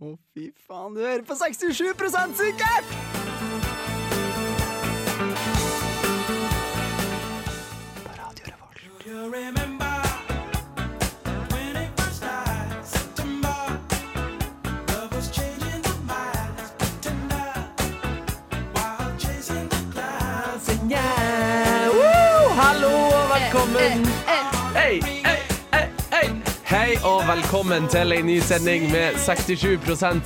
Å, fy faen, du hører på 67 sikkert! På Radio Revolt. Woo! Hallo og velkommen! Hei, hei, hei, hei! Hei og velkommen til en ny sending med 67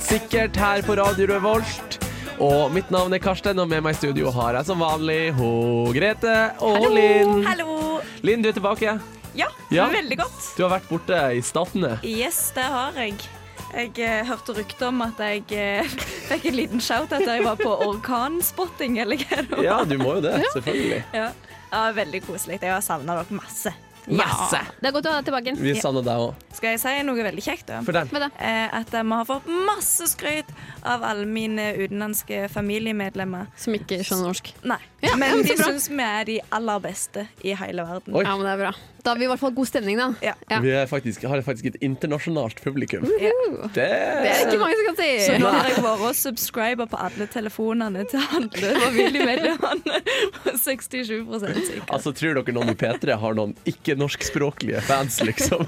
sikkert her på Radio Revolt. Og mitt navn er Karsten, og med meg i studio har jeg som vanlig ho Grete og Hallo, Linn. Hallo! Linn, du er tilbake. Ja, Ja. veldig godt. Du har vært borte i Statene. Yes, det har jeg. Jeg eh, hørte rykte om at jeg eh, fikk en liten shout at jeg var på orkanspotting, eller hva det var. Ja, du må jo det, selvfølgelig. Ja. ja veldig koselig. Jeg har savna dere masse. Masse! Det er godt å ha deg tilbake. Vi savner deg òg. Skal jeg si noe veldig kjekt, da? For den. Med det. Eh, At vi har fått masse skryt av alle mine utenlandske familiemedlemmer. Som ikke skjønner norsk. Nei, Ja, ja, men men de så bra. syns vi er de aller beste i hele verden. Oi. Ja, men det er bra. Da har vi i hvert fall god stemning, da. Ja. Ja. Vi er faktisk, har faktisk et internasjonalt publikum. Ja. Det Det er ikke mange som kan Så nå si. har jeg vært og subscriber på alle telefonene til alle familiemedlemmene. på 67 sikkert. Altså, Tror dere noen i P3 har noen ikke-norskspråklige fans, liksom?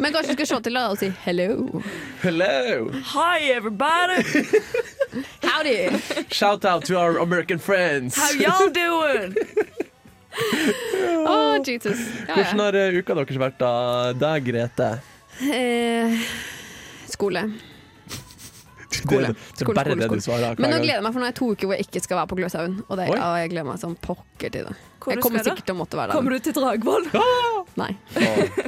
Men kanskje du skal se til deg og si hello. Hello! Hi everybody, Howdy! Shout out to our American friends! how y'all doing? Oh, Jesus. Ja, Hvordan ja. har eh, uka deres vært, da? Deg, Grete? Eh, skole. Skole. Det, det er Skole, bare skole, det du svarer. hver Men nå gang. gleder jeg meg, for nå er det to uker hvor jeg ikke skal være på Gløshaugen. Og det, Oi. ja, jeg gleder meg som pokker til det. Hvor du jeg kommer skal da? sikkert til å måtte være der. Kommer du til Dragvoll? Nei. Å,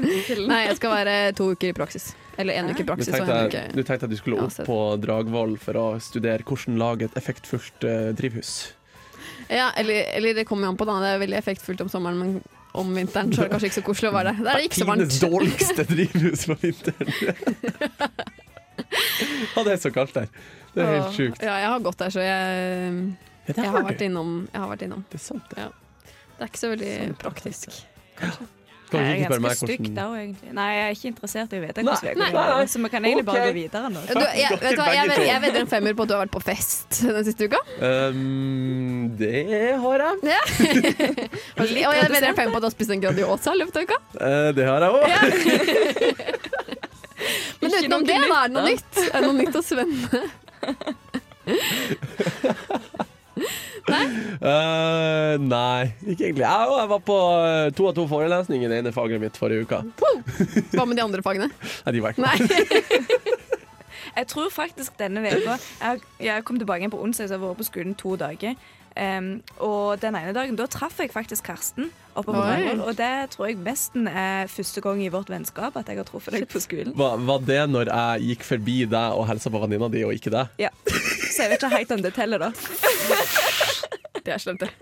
Nei, jeg skal være to uker i praksis. Eller en uke i Du praksis og tenkte, en du uke tenkte at du skulle Ja, opp så- på Dragvoll for å studere hvordan lage et effektfullt eh, drivhus. Ja, eller, eller det kommer jo an på, da. Det er veldig effektfullt om sommeren, men om vinteren så er det kanskje ikke så koselig å være der. Da er det ikke så varmt. Tidenes dårligste drivhus på vinteren. ja, det er så kaldt der. Det er helt Åh, sjukt. Ja, jeg har gått der, så jeg, Ja, det jeg, har har, du. vært innom, jeg har vært innom. Det er sant, det. Ja. Det er ikke så veldig praktisk. Kan du Jeg ikke er spørre ganske meg stygg hvordan da òg, egentlig. Nei, jeg er ikke interessert i å Nei, vite hvordan vi nei, går videre. nei. Så vi kan egentlig bare Ok. gå videre nå. Du, jeg, Dere vet du hva, jeg, begge ved- to. jeg vedder en femmer på at du har vært på fest den siste uka. um, Det har jeg. Og jeg vedder en femmer på at du har spist en Grandiosa i løpet av uka. Eh, det har jeg òg. Men Ikke utenom noe det, nytt, da er det noe nytt. Er det noe nytt å svømme? Eh, nei, ikke egentlig. Jeg, og jeg var på eh, to av to forelesninger i det ene faget mitt forrige uka. Hva med de andre fagene? Nei, de var ikke Nei. Jeg tror faktisk denne uka jeg, jeg kom tilbake igjen på onsdag, så jeg har vært på skolen to dager. Em, og den ene dagen, da traff jeg faktisk Karsten oppe på Oi. Dragvoll. Og det tror jeg nesten er første gang i vårt vennskap at jeg har truffet deg på skolen. var, var det når jeg gikk forbi deg og hilsa på venninna di, og ikke deg? Ja. Så jeg vet ikke helt om det teller, da. Det er slemt, det. Å,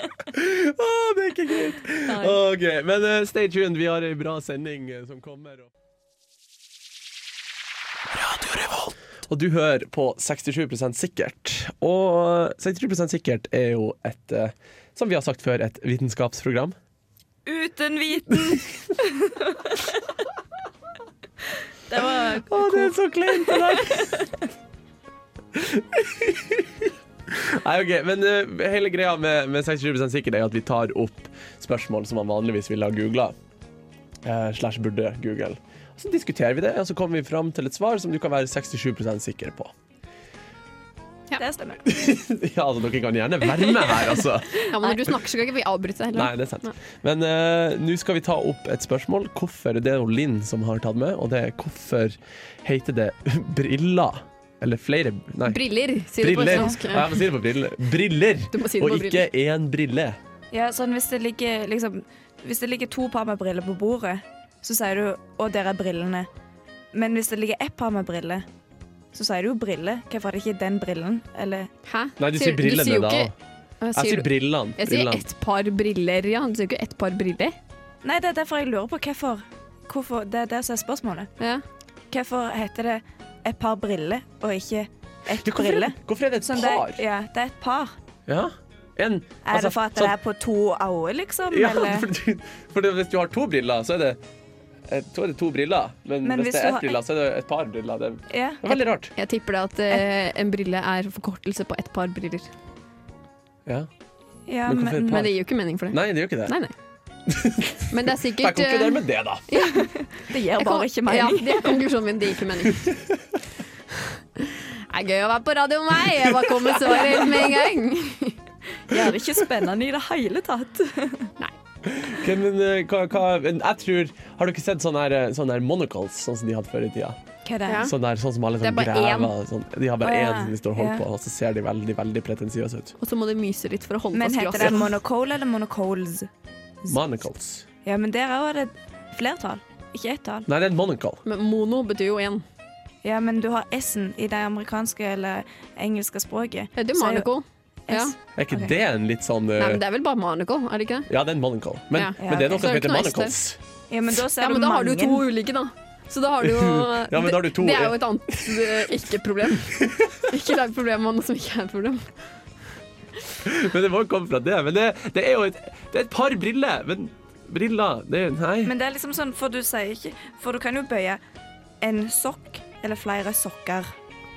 det er ikke greit! Ok, Men eh, stay tuned, vi har ei bra sending eh, som kommer. Og... Og du hører på 67 sikkert. Og 67 sikkert er jo et, eh, som vi har sagt før, et vitenskapsprogram. Uten viten! det var Å, det er så kleint det der. Nei, ok, men eh, hele greia med, med 67 sikkert er at vi tar opp spørsmål som man vanligvis ville ha googla. eh, slash burde google. Og så diskuterer vi det, og så kommer vi fram til et svar som du kan være 67 sikker på. Det stemmer. ja, altså, Dere kan gjerne være med her, altså. Ja, men når du snakker, så kan ikke vi avbryte deg Nei, heller. det er sant. Men eh, nå skal vi ta opp et spørsmål. Hvorfor, Det er jo Linn som har tatt med, og det er hvorfor heter det briller? Eller flere Nei. Briller, sier de på Briller. østlandsk. Ja, jeg må si det på briller. Briller, Du må si det og på ikke én brille. Ja, sånn hvis det ligger liksom Hvis det ligger to par med briller på bordet, så sier du 'Å, der er brillene'. Men hvis det ligger ett par med briller, så sier du jo 'briller'. Hvorfor er det ikke den brillen? Eller Hæ? Nei, du sier brillene jo da. ikke- Jeg Jeg sier, sier brillene. jeg sier brillene. ett par briller, ja. Du sier ikke ett par briller. Nei, det er derfor jeg lurer på hvorfor. hvorfor det er det som er spørsmålet. Ja. Hvorfor heter det 'et par briller' og ikke 'ett Ja, hvorfor, er brille'? det- hvorfor er det et Sånn, det, par? er- ja, det er et par. Ja. En, altså, Er det for at det er på to øyne, liksom? sånn ja, eller? for, du- for det- hvis du har to briller, så er det Jeg tror det er to briller, men, Men hvis hvis det er du ett har- briller, så er det et par briller. Det er Ja. det er veldig rart. Jeg tipper det at eh, en brille er forkortelse på ett par briller. Ja. ja Men hvorfor et men, par? Men det gir jo ikke mening for det. Nei, det gjør ikke det. Nei, nei. Men det er Jeg sikkert konkluderer eh, med det, da. det gir bare jeg kom- ikke Ja, mening. det er konklusjonen min. Det gir ikke mening. Det er gøy å være på radio med meg! Jeg bare kom med svaret med en gang. Det er ikke spennende i det hele tatt. Ok, men, eh, hva, hva, men jeg tror Har dere sett sånne, her, eh, sånne her monocles, sånn som de hadde før i tida? Hva er det? Ja. Sånn, der, sånn som alle Det er sånn bare grever sånn, De har bare Å, én ja. som de står og holder Ja. på, og så ser de veldig veldig pretensiøse ut. Og så må du myse litt for å holde Men fast heter det glasset. monocole eller monocoles? Monocles. Ja, men der òg er det flertall, ikke ett tall. Nei, det er en monocle. Men mono betyr jo én. Ja, men du har S-en i det amerikanske eller engelske språket. Det er jo Så er jo Monaco. Ja. S- Er ikke Ok. det en litt sånn eh, Nei, men det er vel bare Monaco, er det ikke det? Ja, det er en monocle. Men, Ja. men det er Ja, ok. noe som Så det er heter ikke noe monocles. Ja, men da ser Ja, du men da har du mange. jo to ulike, da. Så da har du jo Ja, men da har du to. Det, det er jo et annet eh, ikke-problem. Ikke lag problem av noe som ikke er et problem. Men det må jo komme fra det. Men det, det er jo et, det er et par briller. Men briller det er, Nei. Men det er liksom sånn, for du sier ikke For du kan jo bøye en sokk eller flere sokker.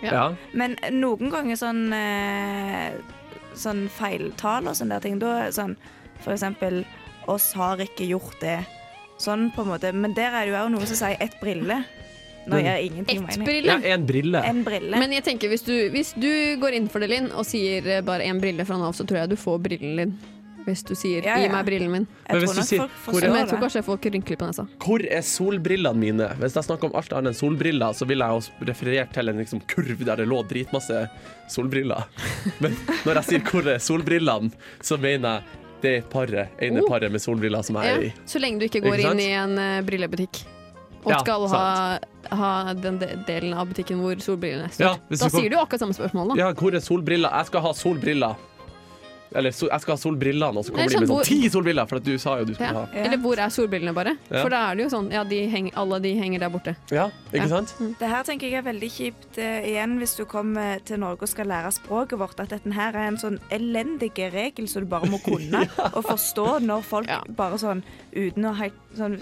ja. Men noen ganger sånn eh, Sånn feiltall og sånne der ting. Da er sånn for eksempel Oss har ikke gjort det. Sånn på en måte. Men der er det jo òg noen som sier ett brille. Nå gjør ingenting Ett mening. ja, brille. en brille. En brille. Men jeg tenker hvis du, hvis du går inn for det, Linn, og sier eh, bare én brille fra nå av, så tror jeg du får brillen din. Hvis du sier Ja, 'gi ja. meg brillen min'. Men jeg hvis tror du nok sier- folk hvor Men forstår jeg tror det. kanskje folk rynker litt på nesa. Hvor er solbrillene mine? Hvis jeg snakker om alt annet enn solbriller, så vil jeg jo referere til en liksom kurv der det lå dritmasse solbriller. Men når jeg sier 'hvor er solbrillene', så mener jeg det paret, ene Oh. paret med solbriller som jeg Ja. er i. Så lenge du ikke Ikke går sant? inn i en eh, brillebutikk. Og Ja, skal ha, ha den de delen av butikken hvor solbrillene står. Ja, hvis da du kom- sier du jo akkurat samme spørsmål, da. Ja, hvor er solbriller? Jeg skal ha solbriller. Eller so, jeg skal ha solbrillene, og så kommer de Eller med sånn, sånn hvor- ti solbriller, for at du sa jo du skulle Ja. ha. Ja. Eller hvor er solbrillene, bare? Ja. For da er det jo sånn, ja, de henger, alle de henger der borte. Ja, ikke Ja. sant? Det her tenker jeg er veldig kjipt eh, igjen hvis du kommer til Norge og skal lære språket vårt, at dette her er en sånn elendig regel som du bare må kunne og forstå når folk Ja. bare sånn uten å helt sånn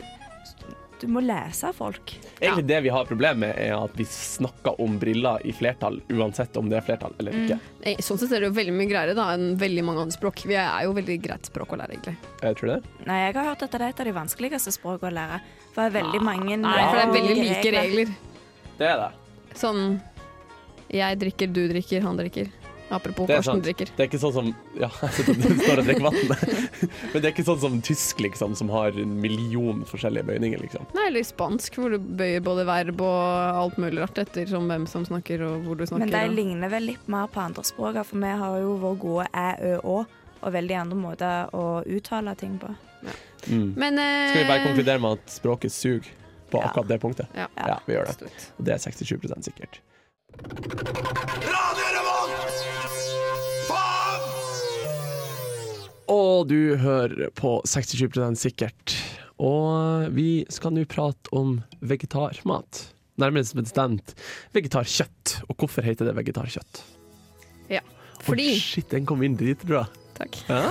Du må lese folk. Egentlig det vi har problem med, er at vi snakker om briller i flertall, uansett om det er flertall eller ikke. Eh, Sånn sett er det jo veldig mye greiere da enn veldig mange andre språk. Vi er jo veldig greit språk å lære, egentlig. Jeg Eh, tror det. Nei, jeg har hørt at det er et av de vanskeligste språkene å lære. For det er veldig mange Ah, Nei, for det er veldig ulike like regler. Det er det. Sånn jeg drikker, du drikker, han drikker. Apropos Det er Karsten sant. drikker. Det er ikke sånn som Ja, jeg sitter og står og drikker vann. Men det er ikke sånn som tysk, liksom, som har en million forskjellige bøyninger, liksom. Nei, eller spansk, hvor du bøyer både verb og alt mulig rart etter som hvem som snakker og hvor du snakker. Men de og- ligner vel litt mer på andre språk, for vi har jo vår gode æ, ø, å og veldig andre måter å uttale ting på. Men, eh, Skal vi bare konkludere med at språket suger på Ja. akkurat det punktet? Ja. Ja, vi gjør det. Absolutt. Og det er 67 sikkert. Og du hører på 67 sikkert. Og vi skal nå prate om vegetarmat. Nærmest bestemt vegetarkjøtt. Og hvorfor heter det vegetarkjøtt? Ja. Oi, Fordi shit, den kom inn dritbra. Takk. Ja,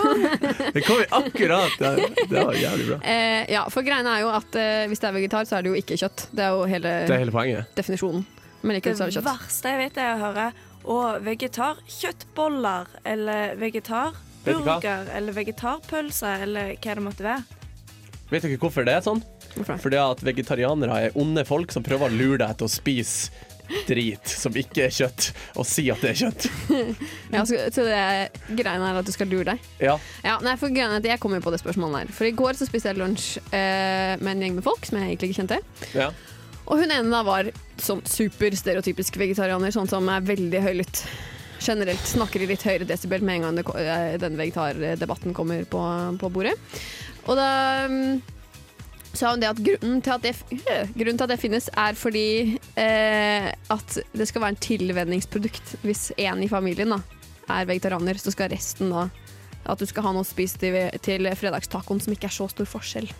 den kom inn akkurat! Ja, det var jævlig bra. Eh, ja, for greiene er jo at eh, hvis det er vegetar, så er det jo ikke kjøtt. Det er jo hele Det er hele poenget. definisjonen. Men likevel så er det kjøtt. verste jeg vet, er å høre og vegetar kjøttboller eller Vet du vegetarburger eller vegetarpølse eller hva det måtte være. Vet dere hvorfor det er sånn? Hvorfor det? Fordi at vegetarianere er onde folk som prøver å lure deg til å spise drit som ikke er kjøtt, og si at det er kjøtt. Ja, så, så det er, greiene er at du skal lure deg. Ja. Ja, nei, for greiene er at Jeg kom jo på det spørsmålet her. For i går så spiste jeg lunsj eh, med en gjeng med folk som jeg egentlig ikke kjente. ja. Og hun ene da var sånn superstereotypisk vegetarianer, sånn som er veldig høylytt. Generelt snakker i litt høyere desibel med en gang det, ko- eh, den vegetardebatten kommer på, på bordet. Og da mm, sa hun det at grunnen til at det, f- øh, grunnen til at det finnes, er fordi eh, at det skal være en tilvenningsprodukt. Hvis én i familien da, er vegetarianer, så skal resten da At du skal ha noe å spise til, til fredagstacoen som ikke er så stor forskjell.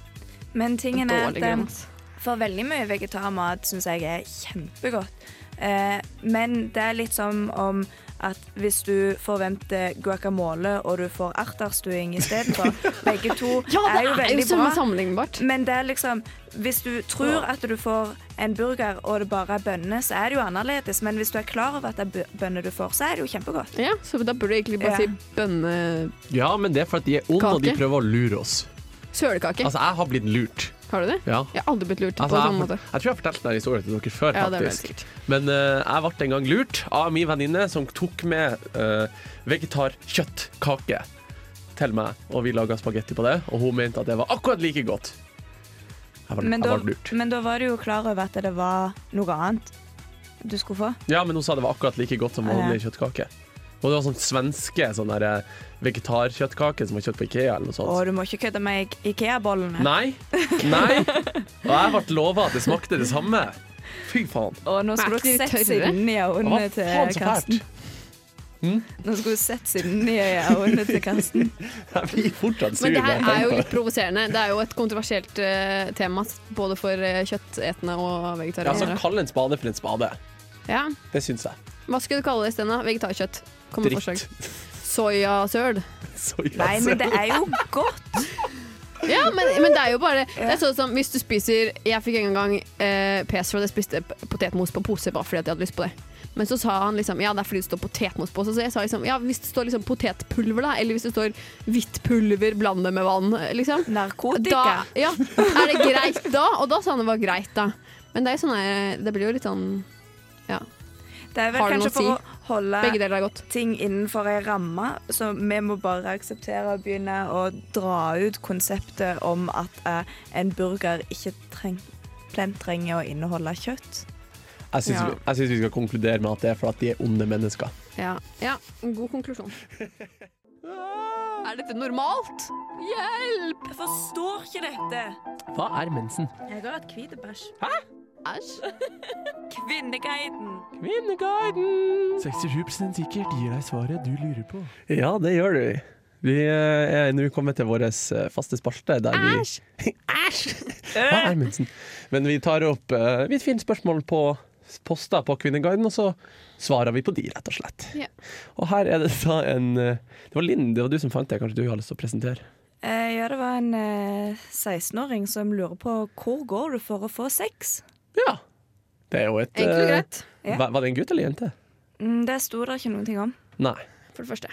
Men tingen er Dårlig at grunn. um, for veldig mye vegetarmat syns jeg er kjempegodt. Eh, men det er litt som om at hvis du forventer guacamole og du får erterstuing istedenfor Begge to er jo veldig sånn samme bra. sammenlignbart. Men det er liksom Hvis du tror at du får en burger og det bare er bønner, så er det jo annerledes. Men hvis du er klar over at det er bø- bønner du får, så er det jo kjempegodt. Ja, så da burde du egentlig bare Ja. si bønne... Ja, men det er for at de er onde, og de Kake. prøver å lure oss. Sølekake. Altså, jeg har blitt lurt. Har du det? Ja. Jeg har aldri blitt lurt Altså, på jeg, samme jeg måte. tror jeg har fortalt denne historien til dere før, Ja, det ble faktisk. sikkert. Men eh, jeg ble en gang lurt av min venninne som tok med eh, vegetarkjøttkake til meg. Og vi laga spagetti på det, og hun mente at det var akkurat like godt. Jeg var, Men jeg da, var lurt. men da var du jo klar over at det var noe annet du skulle få. Ja, men hun sa det var akkurat like godt som Ja, ja. vanlig kjøttkake. Og det var sånn svenske sånn der, eh, vegetarkjøttkake som var kjøtt på Ikea eller noe sånt. Og du må ikke kødde med I- Ikea-bollene. Nei. Nei. Og jeg ble lova at det smakte det samme. Fy faen. Og nå skulle Merker dere de sett tørre? siden i Det øynene var faen så til Karsten. fælt. Nå skulle du sett siden i øynene til Karsten. Jeg blir fortsatt sur. Men det når jeg her tenker er jo på det. litt provoserende. Det er jo et kontroversielt eh, tema både for eh, kjøttetende og Ja, altså, vegetarianere. Kall en spade for en spade. Ja. Det syns jeg. Hva skulle du kalle det isteden? da? Vegetarkjøtt? Kom med forslag. Dritt. Soyasøl? Så jævlig. Nei, men det er jo godt. Ja, men, men det er jo bare det er sånn som Hvis du spiser Jeg fikk en gang eh, pes for at jeg spiste p- potetmos på pose bare fordi at jeg hadde lyst på det. Men så sa han liksom Ja, det er fordi det står potetmos på. Så jeg sa liksom Ja, hvis det står liksom potetpulver, da, eller hvis det står hvitt pulver, bland det med vann, liksom. Da, Narkotika. ja, er det greit da? Og da sa han det var greit, da. Men det er jo sånn her Det blir jo litt sånn Ja. Det er vel Har det noe kanskje for å si? å Begge holde deler er godt. ting innenfor ei ramme, så vi må bare akseptere og begynne å dra ut konseptet om at eh, en burger ikke treng, plent trenger å inneholde kjøtt. Jeg syns Ja. vi, jeg syns vi skal konkludere med at det er fordi at de er onde mennesker. Ja. ja. en God konklusjon. Er dette normalt? Hjelp! Jeg forstår ikke dette. Hva er mensen? Jeg har hatt hvit bæsj. Æsj. Kvinneguiden. Kvinneguiden! 67 sikkert gir deg svaret du lurer på. Ja, det gjør du. Vi eh, er nå kommet til vår eh, faste spalte der vi Æsj! Hva er mensen? Men vi tar opp eh, Vi finner spørsmål på poster på Kvinneguiden, og så svarer vi på de, rett og slett. Ja. Og her er det da en eh, Det var Linn, det var du som fant det. Kanskje du har lyst til å presentere? Eh, ja, det var en eh, 16-åring som lurer på hvor går du for å få sex? Ja. Det er jo et Enkelt og eh, greit, Ja. Var, var det en gutt eller jente? Mm, det sto det ikke noen ting om. Nei. for det første.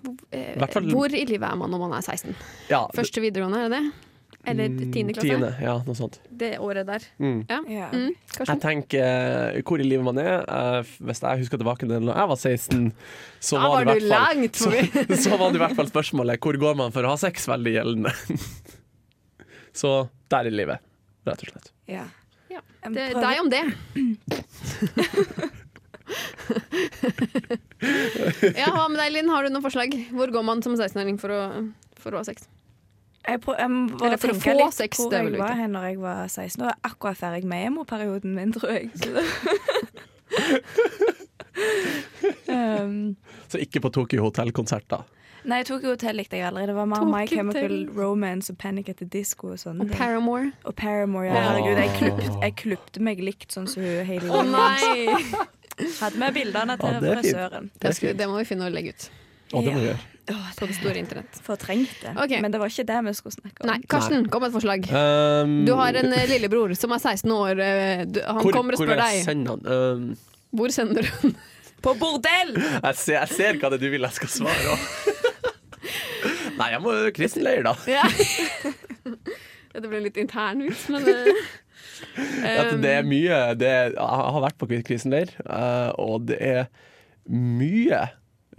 Hvor, eh, Hvert fall- hvor i livet er man når man er 16? Ja, Første videregående, er det det? Eller mm, tiende klasse? Tiende, ja, noe sånt. Det året der. Mm. Ja. Ja. Mm, Karsten? Jeg tenker eh, hvor i livet man er. eh, f- hvis jeg husker tilbake til da jeg var 16, så Da var, det var i du hvert fall, langt forbi. så, så var det i hvert fall spørsmålet hvor går man for å ha sex veldig gjeldende. så der i livet, rett og slett. Ja. Ja. Jeg Det, prøver- deg om det. ja, hva med deg, Linn? Har du noen forslag? Hvor går man som 16-åring for, å- for å ha sex? Jeg, prøv, jeg må bare Eller for å tenke få litt sex, hvor det er jeg vel var ikke. hen når jeg var 16. Nå er jeg akkurat ferdig med emo-perioden min, tror jeg. Så det- um, Så ikke på Tokyo Hotel-konsert, da. nei, jeg tok jo hotell likte jeg aldri. Det var mer Tokyo My Chemical Hotel. Romance og Panic at the Disco og sånne Og ting. Paramore. og Paramore. Ja. Åh. Herregud, jeg klipte, jeg klipte meg likt sånn som hun Hailey Å nei! Hadde med bildene til Ja, det er fint. frisøren. Det, skulle, det må vi finne og legge ut Å, det må vi Ja. gjøre. Åh, på det store internett. fortrengt det. Ok. Men det var ikke det vi skulle snakke om. Nei, Karsten, kom med et forslag. Um, Du har en eh, lillebror som er 16 år. eh, du- Han hvor, kommer og spør hvor jeg deg. sender han? Um, Hvor sender du den? På bordell! jeg, ser, jeg ser hva det er du vil jeg skal svare også. Nei, jeg må kristen leir, da. Ja. Dette ble en litt intern vits, men eh, At det Um, er mye det er, Jeg har vært på krisenleir, eh, og det er mye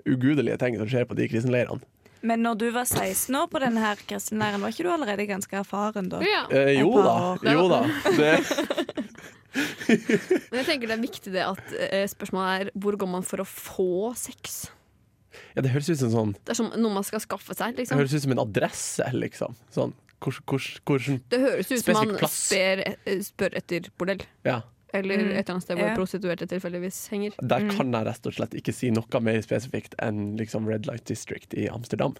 ugudelige ting som skjer på de krisenleirene. Men når du var 16 år på denne her kristenleiren, var ikke du allerede ganske erfaren da? ja. Eh, jo da, jo da. Det, Men jeg tenker det er viktig det at eh, spørsmålet er hvor går man for å få sex? ja, det høres ut som sånn Det er som noe man skal skaffe seg, Det liksom. høres ut som en adresse, liksom. Sånn hvor, hvor, hvor, Det høres ut som man Spesifikk plass. spør, eh, spør etter bordell. ja. Eller et eller annet sted hvor Ja. prostituerte tilfeldigvis henger. Der kan jeg rett og slett ikke si noe mer spesifikt enn liksom Red Light District i Amsterdam.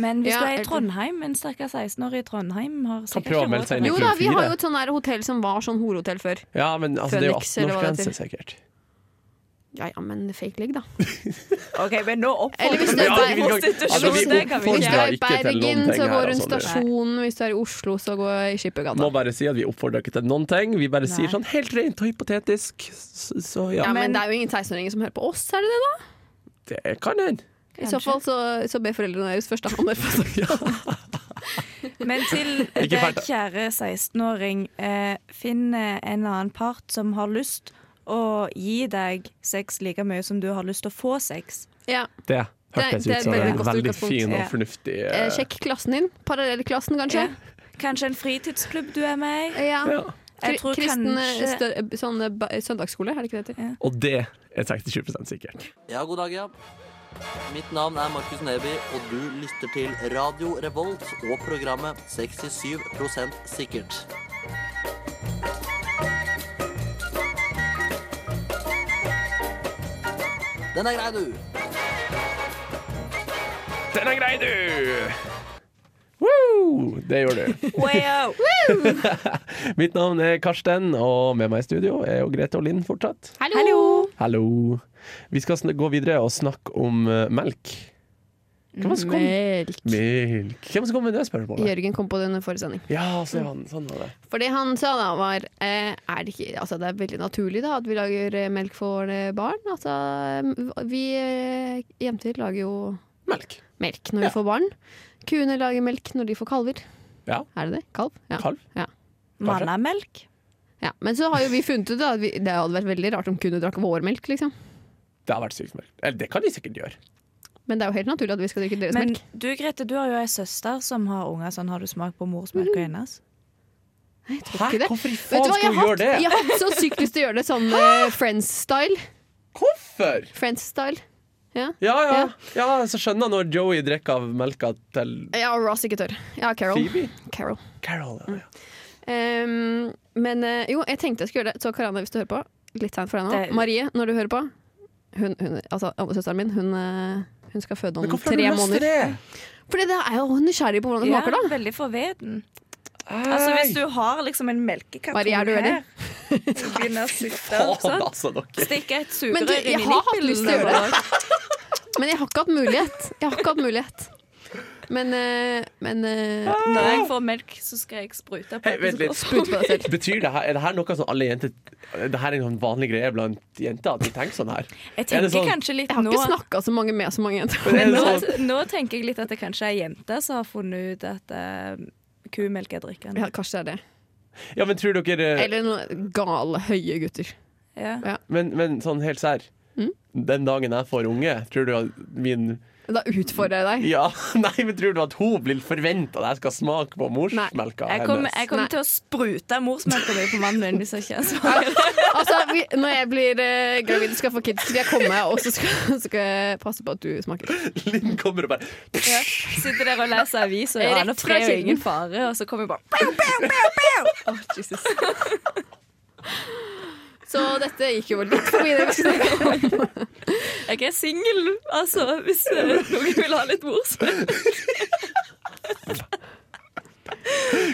Men hvis Ja, du er i eller- Trondheim, en stakkars 16-årig i Trondheim har sikkert prøve å ikke melde råd seg til inn i Jo det. klubben. da, Klubb vi har fire. jo et sånn der hotell som var sånn horehotell før. Ja, men altså, det er jo Phoenix, eller hva det 18-årsgrense, heter. sikkert. Ja ja, men fake leg, da. OK, men nå Eller hvis oppfordrer vi det er- til Ja, Altså, vi prostitusjon. Det kan oppfordrer- drar vi ikke. Hvis du ikke er i til noen Bergen, ting så her, går rundt altså, det- stasjonen. Hvis du er i Oslo, så går jeg i Må Skippergata. bare si at vi oppfordrer ikke til noen ting. Vi bare sier Nei. sånn helt rent og hypotetisk. Så, så ja, Ja, men men- det er jo ingen 16-åringer som hører på oss, er det det, da? det kan hende. I så Kanskje. fall så, så ber foreldrene deres først om det. Men til Ikke deg, fælt, da. kjære 16-åring, eh, finn eh, en annen part som har lyst å gi deg sex like mye som du har lyst til å få sex. Ja. Det hørtes hørtes Det- det ut er ut som som et veldig en en godt veldig veldig utgangspunkt. fin fin og og Ja. fornuftig Eh, sjekk klassen din. Parallellklassen, kanskje. Kanskje en fritidsklubb du er med i? Ja. Ja. Jeg tror Kristen kanskje- stør, sånn, eh, ba- søndagsskole, er det ikke det det heter? Og det er 67 sikkert. Ja, god dag, ja. Mitt navn er Markus Neby, og du lytter til Radio Revolt og programmet 67 sikkert. Den er grei, du. Den er grei, du! Woo! Det gjør du. Wow. Mitt navn er Karsten, og med meg i studio er jo Grete og Linn fortsatt. Hallo! Hallo. Vi skal sn- gå videre og snakke om eh, melk. Hvem var det som kom? Melk. Melk. Hvem var det som kom med det spørsmålet? Jørgen kom på den forrige sending. Ja, se han. Sånn var det. For det han sa da var eh, er det, ikke, altså det er veldig naturlig da at vi lager eh, melk for eh, barn. Altså, eh, vi eh, jenter lager jo Melk. melk når Ja. vi får barn. Kuene lager melk når de får kalver. Ja. Er det det? Kalv? Ja. Kalv. Mannamelk? ja. Men så har jo vi funnet ut da, at vi, det hadde vært veldig rart om kuene drakk vår melk. liksom. Det har vært sykt melk. Eller det kan de sikkert gjøre. Men det er jo helt naturlig at vi skal drikke deres Men melk. du Grete, du har jo ei søster som har unger sånn. Har du smak på morsmelka Mm. hennes? Nei, jeg tror ikke det. Hvorfor i Vet faen du hva, skulle jeg hun gjøre har det? jeg har hatt så sykt lyst til å gjøre det sånn eh, Friends-style. Hvorfor? Friends-style. Ja. Ja, ja. Ja. ja, så skjønner jeg når Joey drikker av melka til ja, Ross ikke tør. Ja, Carol. Phoebe. Carol. Carol, ja. Mm. ja. Ehm, men eh, jo, jeg tenkte jeg skulle gjøre det. Så Karane, hvis du hører på, litt tegn for deg nå. Det- Marie, når du hører på hun, hun, altså, Søsteren min hun, eh, hun skal føde Men om hvorfor har du tre lyst til måneder. det? Fordi det er jo nysgjerrig på hvordan det smaker, da. veldig forveden. Altså, hvis du har liksom en melkekartong Marie, er du enig? her, og begynner å sukte, Faen, sant? altså, dere. Stikk et Men du, sugerør jeg inn i har hatt lyst til å nippelen. gjøre det. Men jeg har ikke hatt mulighet. Jeg har ikke hatt mulighet. Men, eh, men eh, Når jeg får melk, så skal jeg sprute på. Hei, vent litt. Sprut på deg selv. Betyr det her, er det her noe som alle jenter Det her er en sånn vanlig greie blant jenter, at de tenker sånn her? Jeg Er det tenker sånn- kanskje litt Jeg har nå ikke snakka så mange med så mange jenter. Er Men altså- det nå, sånn, nå tenker jeg litt at det kanskje er jenter som har funnet ut at eh, kumelk er drikkende. Ja, kanskje det er det. ja, men tror dere Eller noen gale, høye gutter. Ja. Men, men sånn helt sær. Mm? Den dagen jeg får unge, tror du at min Da utfordrer jeg deg. Ja, nei, men tror du at hun vil forvente at jeg skal smake på morsmelka Jeg kommer, jeg Nei. kommer til å sprute morsmelka mi på mannen min hvis jeg ikke er svar. Altså, vi, når jeg blir eh, gravid og skal få kids, skal jeg komme og så skal, så skal jeg passe på at du smaker. hennes? Linn kommer og bare Ja. Sitter der og leser aviser, og Rett aner fra fred og kilden. ingen fare, og så kommer jeg bare Å, Jesus. Så dette gikk jo litt forbi det vi skulle snakke om. Jeg er singel, altså, hvis eh, noen vil ha litt morsmelk.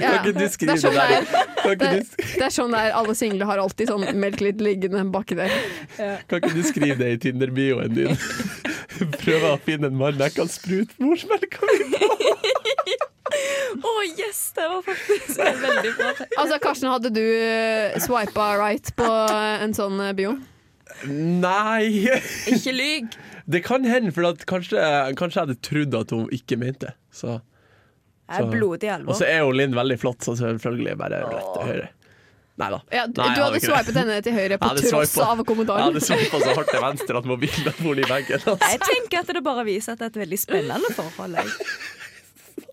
Ja. Kan ikke du skrive sånn det der? det Kan Det ikke er, du sk- det er sånn det er. Alle single har alltid sånn melk litt liggende baki der. Kan ikke du skrive det i Tinder-bioen din? Prøve å finne en mann jeg kan sprute morsmelka mi på. Å, yes! Det var faktisk en veldig bra. Altså, Karsten, hadde du swipa right på en sånn eh, bio? Nei! Ikke lyg. Det kan hende, for at kanskje, kanskje jeg hadde trodd at hun ikke mente det. Så. Jeg Så- er blodig Og Altså, alvor. så er jo Linn veldig flott, så selvfølgelig bare rett til høyre. Nei da. Ja, du, Nei, jeg du hadde ikke det. swipet henne til høyre på Jeg hadde tross swipet- av Jeg kommentaren. hadde svippa så hardt til venstre at mobilen for i veggen. Altså. Jeg tenker at det bare viser at det er et veldig spennende forhold. Jeg.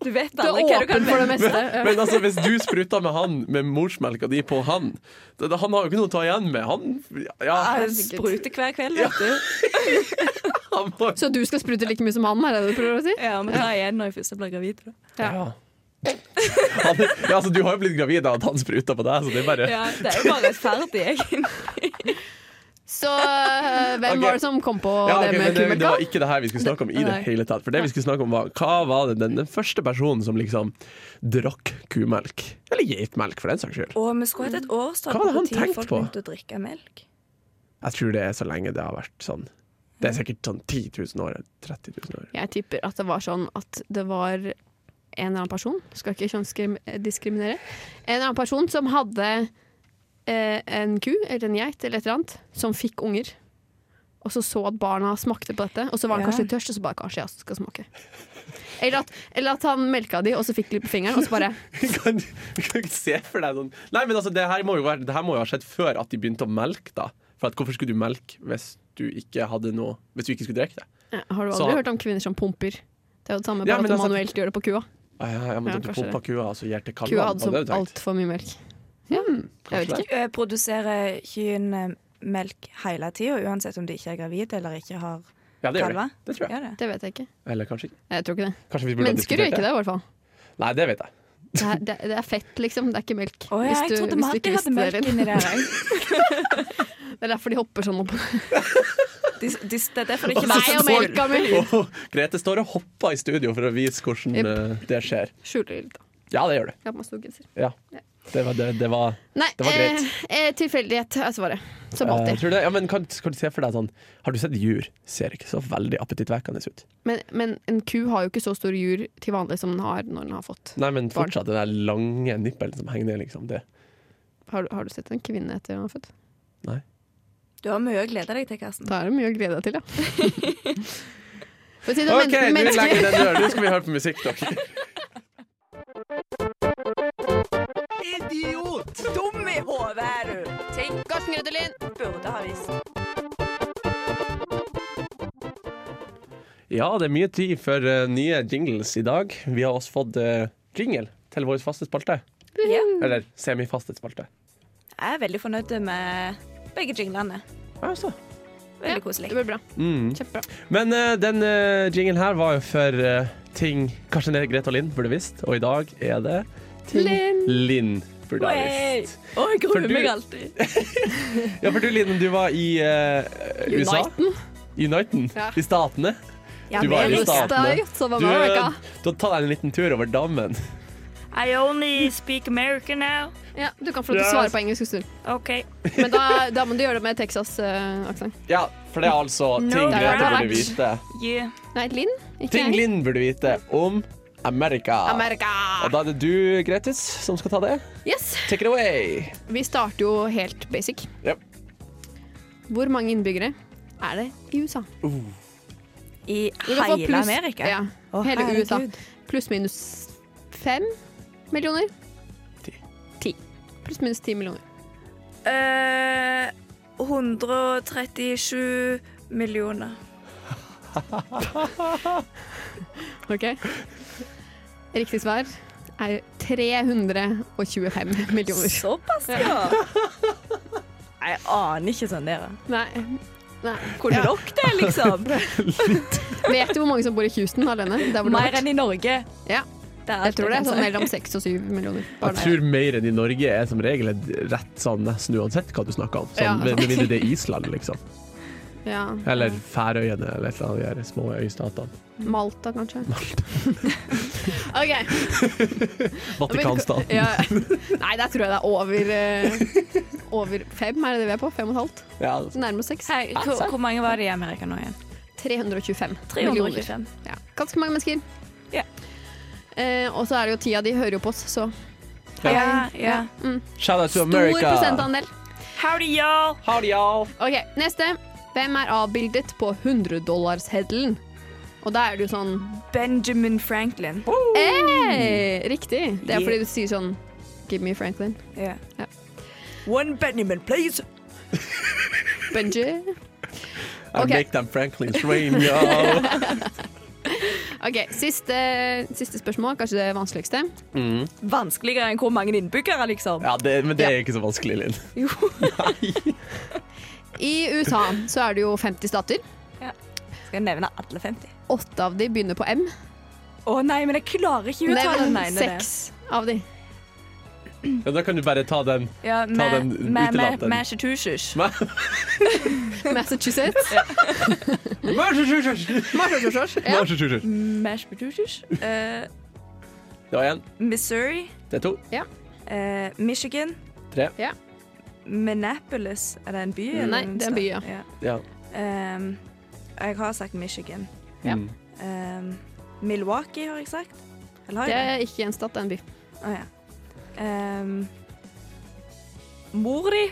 Du vet Du er aldri hva du åpen kan for det vente. meste. Men altså, hvis du sprutter med han med morsmelka di på han det, det- Han har jo ikke noe å ta igjen med. Han, ja, Jeg spruter hver kveld, vet du. han må Så du skal sprute like mye som han, er det det du prøver å si? Ja, men ta igjen når jeg først blir gravid. da. Ja. Han, ja, altså, du har jo blitt gravid av at han spruta på deg, så det er bare Ja, det er jo bare rettferdig, egentlig. Så øh, hvem Ok. var det som kom på Ja, ok, det men med det, det kumelka? var ikke det her vi skulle snakke om i det Nei. hele tatt. For det vi skulle snakke om var Hva var det den, den første personen som liksom drakk kumelk? Eller geitmelk, for den saks skyld. Og vi skulle hatt et årstall Hva var det på han når tenkte folk på? begynte å drikke melk. Jeg tror det er så lenge det har vært sånn. Det er sikkert sånn 10 000 år. 30 000 år. Jeg tipper at det var sånn at det var en eller annen person, skal ikke kjønnsdiskriminere, en eller annen person som hadde eh, en ku eller en geit eller et eller annet, som fikk unger. Og så så at barna smakte på dette, og så var han Ja. kanskje litt tørst, og så bare kanskje jeg også skal smake. Eller at, eller at han melka de, og så fikk de litt på fingeren, og så bare Kan, du- kan du ikke se for deg sånn Nei, men altså, det her må jo, være, det her må jo ha skjedd før at de begynte å melke, da. For at, hvorfor skulle du melke hvis du ikke hadde noe Hvis du ikke skulle drikke det? Ja, Har du Så- aldri hørt om kvinner som pumper? Det er jo det samme, Ja, bare men at du altså- manuelt gjør det på kua. Ah, ja, ja, men da Ja, du kanskje pumpa kua, altså, og så gir til kalvene. Kua var hadde så det du tenkte? altfor mye melk. Ja, jeg vet ikke. Eh, Produserer kyrne melk hele tida, uansett om de ikke er gravide eller ikke har Ja, det gjør de. kalver? Det tror jeg. Gjør det? Det vet jeg ikke. Eller kanskje ikke. Jeg tror ikke det. Kanskje vi burde ha Mennesker gjør diskutert ikke det, i hvert fall. Nei, det vet jeg. Det er, det, det er fett, liksom. Det er ikke melk. Å ja, Hvis jeg du- trodde hvis du Martin ikke hadde visste melk det, inni der. jeg. Det er derfor de hopper sånn opp. De, de, det er derfor det ikke Nei, og melka mi! Og Grete står og hopper i studio for å vise hvordan Jepp. eh, det skjer. Skjuler litt, da. Ja, det gjør det. Jeg har på meg storgenser. Ja. Det var, det, det var, Nei, Det var eh, greit. eh, tilfeldighet er svaret. Som eh, alltid. tror du det? Ja, men kan, kan du se for deg sånn Har du sett jur? Ser ikke så veldig appetittvekkende ut. Men, men en ku har jo ikke så stor jur til vanlig som den har når den har fått. Nei, men Barn. fortsatt den der lange nippelen som henger ned, liksom. Det. Har, du- har du sett en kvinne etter hun har født? Du har mye å glede deg til, Karsten. Da er det mye å glede deg til, ja. For å si det, OK, men- nå mennesker- legger vi den døren. Nå skal vi høre på musikk, dere. Idiot! Dum i hodet er du! Ting Karsten Grødelin! burde ha visst. Ja, det er mye tid for eh, nye jingles i dag. Vi har også fått eh, jingle til vår faste spalte. Ja. Eller semifaste spalte. Jeg er veldig fornøyd med begge jinglene. Altså. Veldig Det koselig. blir bra. Mm. Kjempebra. Men eh, den uh, jingen her var jo for eh, ting kanskje det Grete og Linn burde visst, og i dag er det ting Linn. Linn burde ha Hey! visst. Å, jeg For gruer du- meg alltid. Ja, for du Linn, du var i eh, USA. Uniten. Uniten. Ja. I Statene. Ja, Du var men- i staten. Støy, som Du, eh, var Amerika. du har tatt deg en liten tur over dammen. I only speak American now. Ja, du kan få lov til å svare på engelsk en stund. OK. Men da, da må du gjøre det med eh, Texas-aksent. Ja, for det er altså No ting doubt. Grete burde vite. Yeah. Nei, Linn. Ikke Ting jeg. Linn burde vite om America. Amerika! Og da er det du, Gretes, som skal ta det. Yes. Take it away. Vi starter jo helt basic. Yep. Hvor mange innbyggere er det i USA? I Du kan få hele pluss- Amerika? Ja, Å, hele herregud. USA. Pluss minus fem millioner. Ti. Ti. Pluss minus ti millioner. Eh, 137 millioner. Ok. Riktig svar er 325 millioner. Såpass, ja. Jeg aner ikke sånn dere. Nei. Nei. Kunne dere det, liksom? Vet du hvor mange som bor i Houston alene? Der hvor du har Mer vært? enn i Norge. Ja. Det altså. er Jeg alt tror det kan er sånn si. mellom seks og syv millioner. Jeg tror mer enn i Norge er som regel et rett sånn nesten uansett hva du snakker om. Ja. Sånn, med, med mindre det er Island, liksom. Ja. Eller Færøyene, eller et eller annet av de her små øystatene. Malta, kanskje. OK. Vatikanstaten. Ja. Nei, der tror jeg det er over, eh, over fem, er det det vi er på? Fem og et halvt? Ja, altså. Nærmere seks. Hei, hvor, hvor mange var det i Amerika nå igjen? 325 millioner. 325. Ja. Ganske mange mennesker. Ja. Eh, og så er det jo tida de hører jo på oss, så Ja, ja. mm. Shout out to Stor America! prosentandel. Howdy, y'all. Howdy, y'all! OK, neste. Hvem er avbildet på 100-dollarsheddelen? Og da er det jo sånn Benjamin Franklin. hey, Riktig! Det Yeah. er fordi du sier sånn Give me Franklin. Ja. One Benjamin, please! Benji. I Ok. make them Franklin's rain, y'all! OK, siste, siste spørsmål. Kanskje det vanskeligste. Mm. Vanskeligere enn hvor mange innbyggere, liksom. Ja, det, men det er ikke så vanskelig, Linn. Jo. I USA så er det jo 50 stater. Skal jeg nevne alle 50? Åtte av de begynner på M. Å nei, men jeg klarer ikke å Nei, uttale den men ene. der. seks av de. Ja, da kan du bare ta den. Ja, den med- med- utelat den. med Massachusetts. Massachusetts. Det Ja. Mm. Massachusetts. Eh, var én, Missouri. det er to, eh, Michigan. tre, Minneapolis. Er det en by? eller Nei, en det er stat? en by, ja. Ja. Ehm, og jeg har sagt Michigan. Ja. Mm. Ehm, Milwaukee har jeg sagt. Eller har Det jeg det? er ikke en stat, det er en by. Å ja. Ehm, mor di?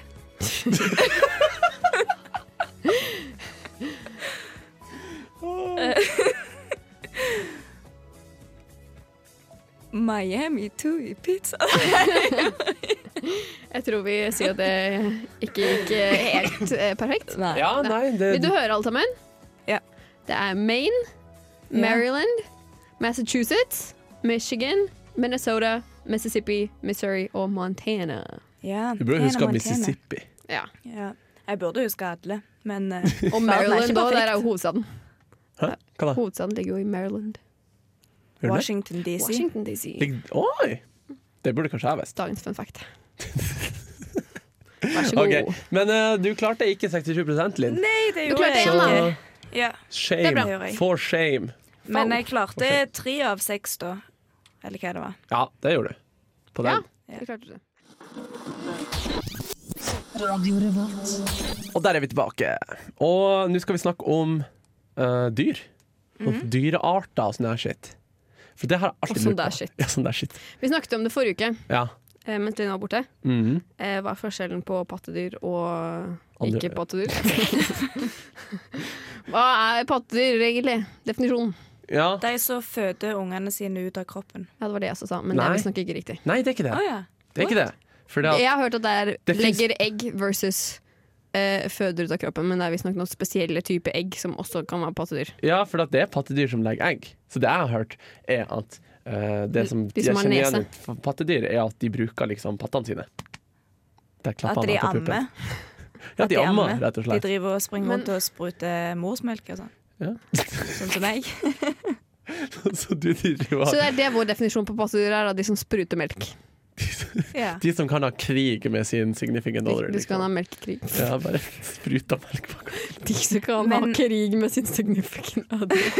Miami 2 i pizza. Jeg tror vi sier at det ikke gikk eh, helt eh, perfekt. Nei. ja, nei, det Vil du høre alle sammen? Ja. Det er Maine, Maryland, Massachusetts, Michigan, Minnesota, Mississippi, Missouri og Montana. Ja, Du burde Hannah huske at Montana. Mississippi. Ja. Ja. Jeg burde huske alle, men eh, Og verden er ikke Maryland da, der er jo perfekt. hovedstaden. Hæ? Hva da? Hovedstaden ligger jo i Maryland. Gjør den det? Washington DC. Washington DC. Ligg- Oi! Det burde kanskje jeg visst. Dagens fun fact. Vær så god. Ok, Men eh, du klarte ikke 67 Linn. Nei, det Du gjorde klarte jeg en, ikke. da. Så Ja. Det er shame. bra. For shame. Men Fall. jeg klarte tre av seks, da. Eller hva det var. Ja, det gjorde du. På Ja, den. det klarte du. Og der er vi tilbake. Og nå skal vi snakke om eh, dyr. Om Dyrearter og sånn der shit. For det har jeg alltid Mhm. Og sånn lurt på. der shit. Ja, sånn der shit. Vi snakket om det forrige uke, Ja. eh, mens Linn var borte. Mhm. Eh, Hva er forskjellen på pattedyr og Andre- ikke-pattedyr? Hva er pattedyr egentlig? Definisjonen. ja. De som føder ungene sine ut av kroppen. Ja, det var det jeg også sa, men det Nei. er visstnok ikke riktig. Nei, det er ikke Å det. ja. Det er ikke det. For det at, Jeg har hørt at det er Det finnes- legger egg versus eh, føder ut av kroppen, men det er visstnok noen spesielle type egg som også kan være pattedyr. ja, for at det er pattedyr som legger egg. Så det jeg har hørt, er at eh, det som, De som jeg har kjenner nese. igjen fra pattedyr, er at de bruker liksom pattene sine. Der klapper At han de meg på puppen. ammer. Ja, de ammer, rett og De slett. driver og springer Men- rundt og spruter morsmelk og sånn. Ja. Sånn som meg. Så du driver og Så det er det vår definisjon på pattedyr er, da, de som spruter melk. Ja. De som kan ha krig med sin significant De, other. de som Liksom. kan ha melkekrig. Ja, bare spruta melk bak. De som kan Men- ha krig med sin significant other.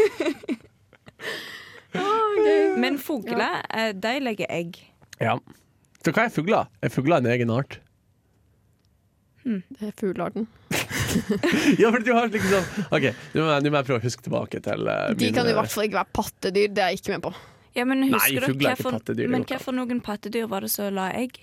Ah, Men fugler, eh, de legger egg. Ja. Så hva er fugler? Er fugler en egen art? Det er fuglearten. Ja, for du har liksom OK, nå må jeg, nå må jeg prøve å huske tilbake til eh, De mine- kan i hvert fall ikke være pattedyr, det er jeg ikke med på. Ja, men husker dere fugler er ikke hvorfor- pattedyr, det Men går ikke hvorfor noen pattedyr var det som la egg?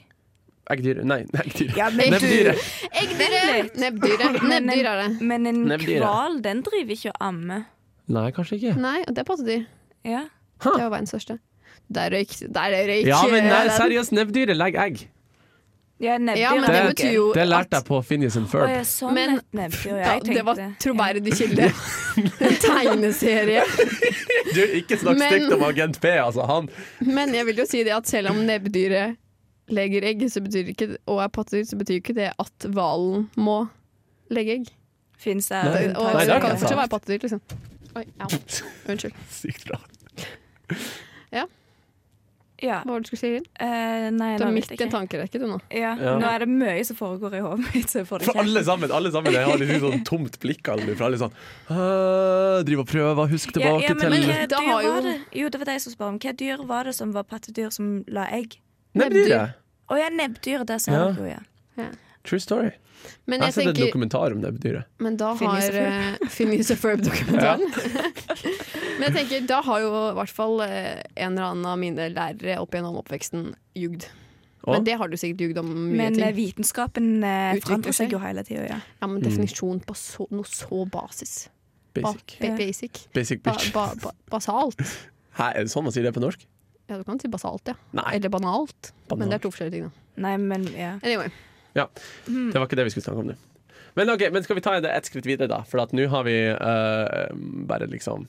Eggdyr eh, Nei, eggdyr. Ja, men Nebbdyret. Eggdyret! Nebbdyret. Nebbdyr er det. Men en Nebbdyr, ja. hval, den driver ikke og ammer. Nei, kanskje ikke. Nei, og det er pattedyr. Ja. Det er jo verdens største. Der røyk. Der er røyk. Ja, men nei, Den- seriøst, nebbdyret legger egg. Ja, nebbdyr Ja, men det er betyr gøy. jo Det lærte at- jeg på Phineas and Å Ferb. ja, sånn Men- et nebbdyr. Ja, Ja, jeg tenkte det var Ja. troverdig kilde. En tegneserie. Du, ikke snakk Men- stygt om Agent P, altså. Han Men jeg vil jo si det at selv om nebbdyret legger egg, så betyr ikke, og er pattedyr, så betyr ikke det at hvalen må legge egg. Finnes det Nei, nei, Og det unntak? er det ikke kan fortsatt sant. være pattedyr, liksom. Oi, au. Unnskyld. Sykt bra. Ja. Hva var det du skulle si? Linn? Eh, nei, Du er nå midt vet jeg i en ikke. tankerekke, du nå. Ja. Ja. Nå er det mye som foregår i hodet mitt. Så jeg får det For ikke. alle sammen. alle sammen Jeg har litt sånn tomt blikk av det, for alle sånn «Øh, Driver og prøver, husk ja, tilbake ja, men til hva Da dyr har jo- var det? Jo, det var deg som spør om. Hva dyr var det som var pattedyr som la egg? Nebbdyret. Å ja, nebbdyr. Der sa Ja. dere jo, ja. True story. Men Jeg har jeg sett en tenker dokumentar om nebbdyret. Men da Phineas og har eh, Phineas og Ferb-dokumentaren. Men jeg tenker, da har jo i hvert fall eh, en eller annen av mine lærere opp gjennom oppveksten jugd. Å? Men det har du sikkert jugd om mye Men eh, ting. vitenskapen eh, Utvikler forandrer seg. seg jo hele tida, ja. Ja, men definisjon Mm. på så, noe så basis. Ba, Basic. ba, Ja. basic. Basic Ba, bitch. ba, ba, basalt. Hæ, er det sånn man sier det på norsk? Ja, du kan si basalt, ja. Nei. Eller banalt. Men det Banalt. er to forskjellige ting, da. Nei, men ja. Anyway. Ja, Det var ikke det vi skulle snakke om nå. Men ok, men skal vi ta det ett skritt videre, da? For at nå har vi eh, bare liksom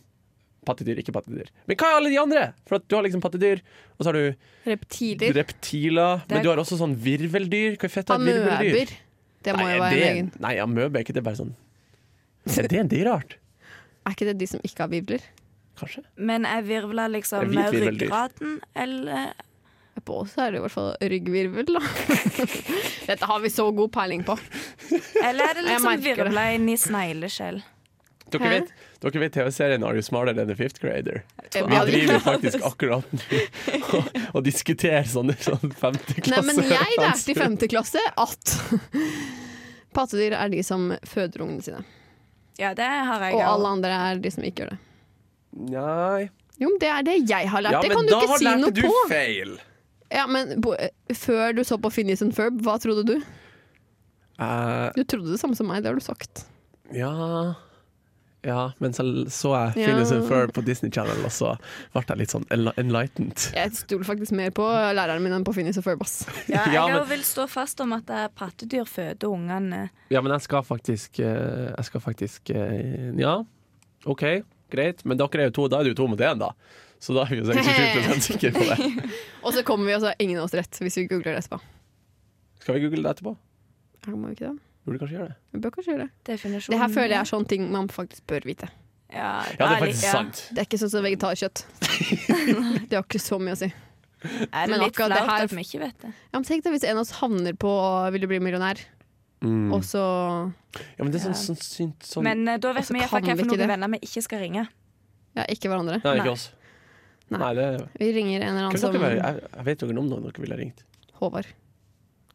pattedyr, ikke pattedyr. Men hva er alle de andre? For at du har liksom pattedyr, og så har du Reptiler. reptiler. er- Men du har også sånn virveldyr. Hva er fett av et virveldyr? Amøber. Det må Nei, jo er være en det- egen. Nei, amøbe er ikke det bare sånn Er det en dyreart? Er ikke det de som ikke har virvler? Kanskje? Men jeg virvla Det er liksom hvit med virveldyr. ryggraden, eller På oss er det i hvert fall ryggvirvel, da. Dette har vi så god peiling på. Eller er det Jeg liksom merker det. virvla inn i snegleskjell? Dere Hæ? vet, dere vet TV-serien Are You Smarter Than a Fifth Grader? Eh, Vi ja, det- driver faktisk akkurat nå og, og diskuterer sånne, sånne Nei, men femteklasse jeg lærte i femte klasse at pattedyr er de som føder ungene sine. Ja, det har jeg Og også. alle andre er de som ikke gjør det. Nei Jo, men det er det jeg har lært. Ja, det men kan du da ikke si lærte noe du på. feil. Ja, men bo, Før du så på Finnis and Ferb, hva trodde du? Eh, Du trodde det samme som meg, det har du sagt. ja Ja, men så så jeg Ja. Phineas and Ferb på Disney Channel, og så ble jeg litt sånn enla- enlightened. Jeg stoler faktisk mer på læreren min enn på Finnis and Ferb. ass. Ja, jeg Ja, men- også vil stå fast om at eh, pattedyr føder ungene. Ja, men jeg skal faktisk eh, Jeg skal faktisk eh, Ja, OK, greit. Men dere er jo to, da er det jo to mot én, da. Så da er vi jo 67 sikre på det. Og så kommer vi, og så har ingen av oss rett hvis vi googler det etterpå. Skal vi google det etterpå? Ja, må vi ikke det? Burde kanskje gjøre det. Vi bør kanskje gjøre det. Definisjonen Det her føler jeg er sånn ting man faktisk bør vite. Ja, Ja, det litt- er faktisk ja. sant. Det er ikke sånn som vegetarkjøtt. Det har ikke så mye å si. Er det Men litt akkurat det flaut her- at vi ikke vet det? Ja, men tenk deg hvis en av oss havner på å ville bli millionær, Mm. og så Ja, men det er sånn, sånn, synt- sånn Men eh, da vet Altså, vi i hvert kan fall hva vi for noen ikke det? venner vi ikke skal ringe. Ja, ikke hverandre. Nei, Nei. ikke oss. Nei. Nei, det Vi ringer en eller annen Kunne som dere være, jeg, jeg vet dere om noen dere ville ha ringt. Håvard.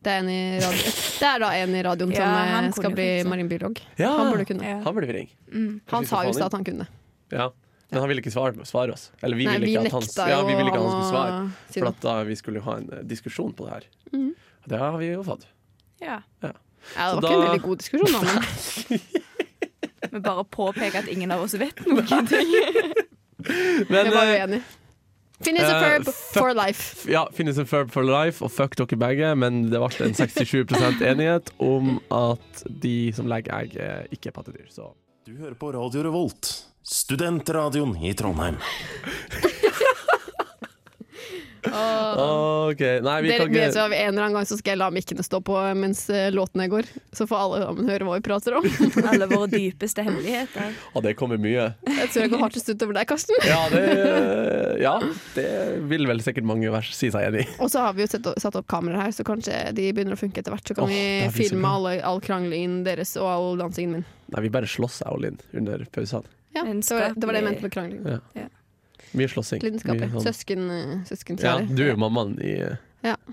Det er, en i radio. det er da en i radioen Ja, som eh, han skal kunne bli fikse. marinbiolog. Ja, Han burde kunne. Ja. han burde vi ringe. Mm. Han Kanskje vi skal sa jo få i han stad at han kunne. Ja. Men han ville ikke svare, svare oss. Eller vi Nei, ville vi ikke at han, nekta ja, jo vi ville ikke at han å skulle svare. si For noe. at da vi skulle jo ha en eh, diskusjon på det her. Mhm. Og Det har vi jo fått. Ja. Ja, det Så var ikke en da- veldig god diskusjon, da, men Vi bare påpeker at ingen av oss vet noen ting. Men jeg var eh, uenig. Finnes a eh, ferb fuck- for life. ja, finnes en Ferb for life, og fuck dere begge, men det ble en 67 enighet om at de som legger egg, eh, ikke er pattedyr. Så Du hører på Radio Revolt, studentradioen i Trondheim. Og OK. Nei, vi dere, kan vet du ikke hva, en eller annen gang så skal jeg la mikkene stå på mens eh, låtene går, så får alle sammen høre hva vi prater om. Alle våre dypeste hemmeligheter. Å, det kommer mye. Jeg tror jeg går hardest utover deg, Karsten. Ja, det, ja, det vil vel sikkert mange vers si seg enig i. Og så har vi jo sett, satt opp kameraer her, så kanskje de begynner å funke etter hvert. Så kan Åh, det vi her blir så filme bra. alle, all kranglingen deres og all dansingen min. Nei, vi bare slåss, jeg og Linn, under pausene. Ja, En det var, det var det jeg mente med krangling. Ja. Mye slåssing. Lidenskapelig. Mye sånn- Søsken, Ja, søskenkjære. du er jo mammaen i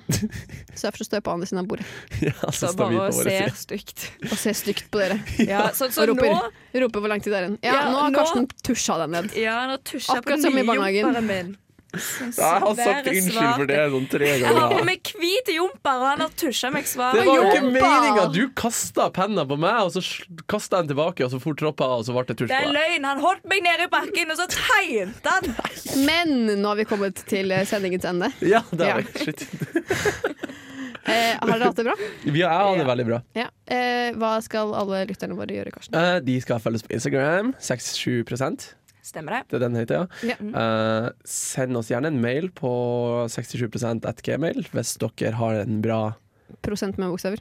Så jeg får stå på andre siden av bordet Ja, så Så står vi bare på vår ser side. stygt. og se stygt på dere. Ja, sånn som Og roper. nå. Roper hvor lang tid det er igjen. Ja, Ja, nå har nå- Karsten tusja deg ned. Ja, nå tusjer jeg på Akkurat som i barnehagen. nyjumperen min. Sånn Jeg har sagt svære unnskyld svarte- for det sånn tre Jeg har ganger. på meg hvit jumper, og han har tusja meg svart. Det var jo ikke Jompa! meninga! Du kasta penna på meg, og så kasta jeg den tilbake, og så fort troppa jeg, og så ble det tusj Det på er deg. løgn! Han holdt meg nede i bakken, og så tegnet han! Men nå har vi kommet til eh, sendingens ende. Ja, det Ja. er det. Shit. Eh, har dere hatt det bra? Vi har jeg har det veldig bra. Ja. Eh, hva skal alle lytterne våre gjøre, Karsten? Eh, De skal følges på Instagram. 67 Det Stemmer det? er den heter, ja. Ja. Eh, send oss gjerne en mail på 67 at gmail hvis dere har en bra Prosent med bokstaver.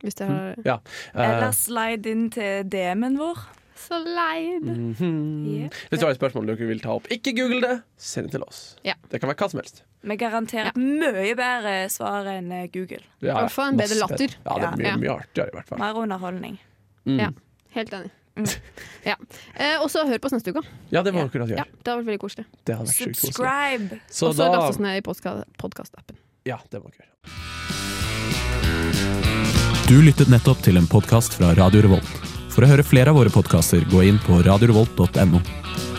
Hvis dere har Ja. eh, Eller slide inn til DM-en vår. Så leid. Yeah. Hvis du har et spørsmål dere vil ta opp, ikke google det, send det til oss. Ja. Det kan være hva som helst. Vi garanterer et mye bedre svar enn eh, Google. Ja, I hvert fall en masse bedre latter. bedre. Ja, det er mye, Ja. mye artigere i hvert fall. Mer underholdning. Mm. Ja. Helt enig. Ja. Eh, og så hør på oss neste uke. Ja, det må dere kunne Ja, gjøre. det har vært veldig koselig. Det hadde vært sjukt koselig. Subscribe! Så Og så da last oss ned i podkast-appen. Ja, det må dere gjøre. Du lyttet nettopp til en podkast fra Radio Revolt. For å høre flere av våre podkaster, gå inn på radiorevolt.no.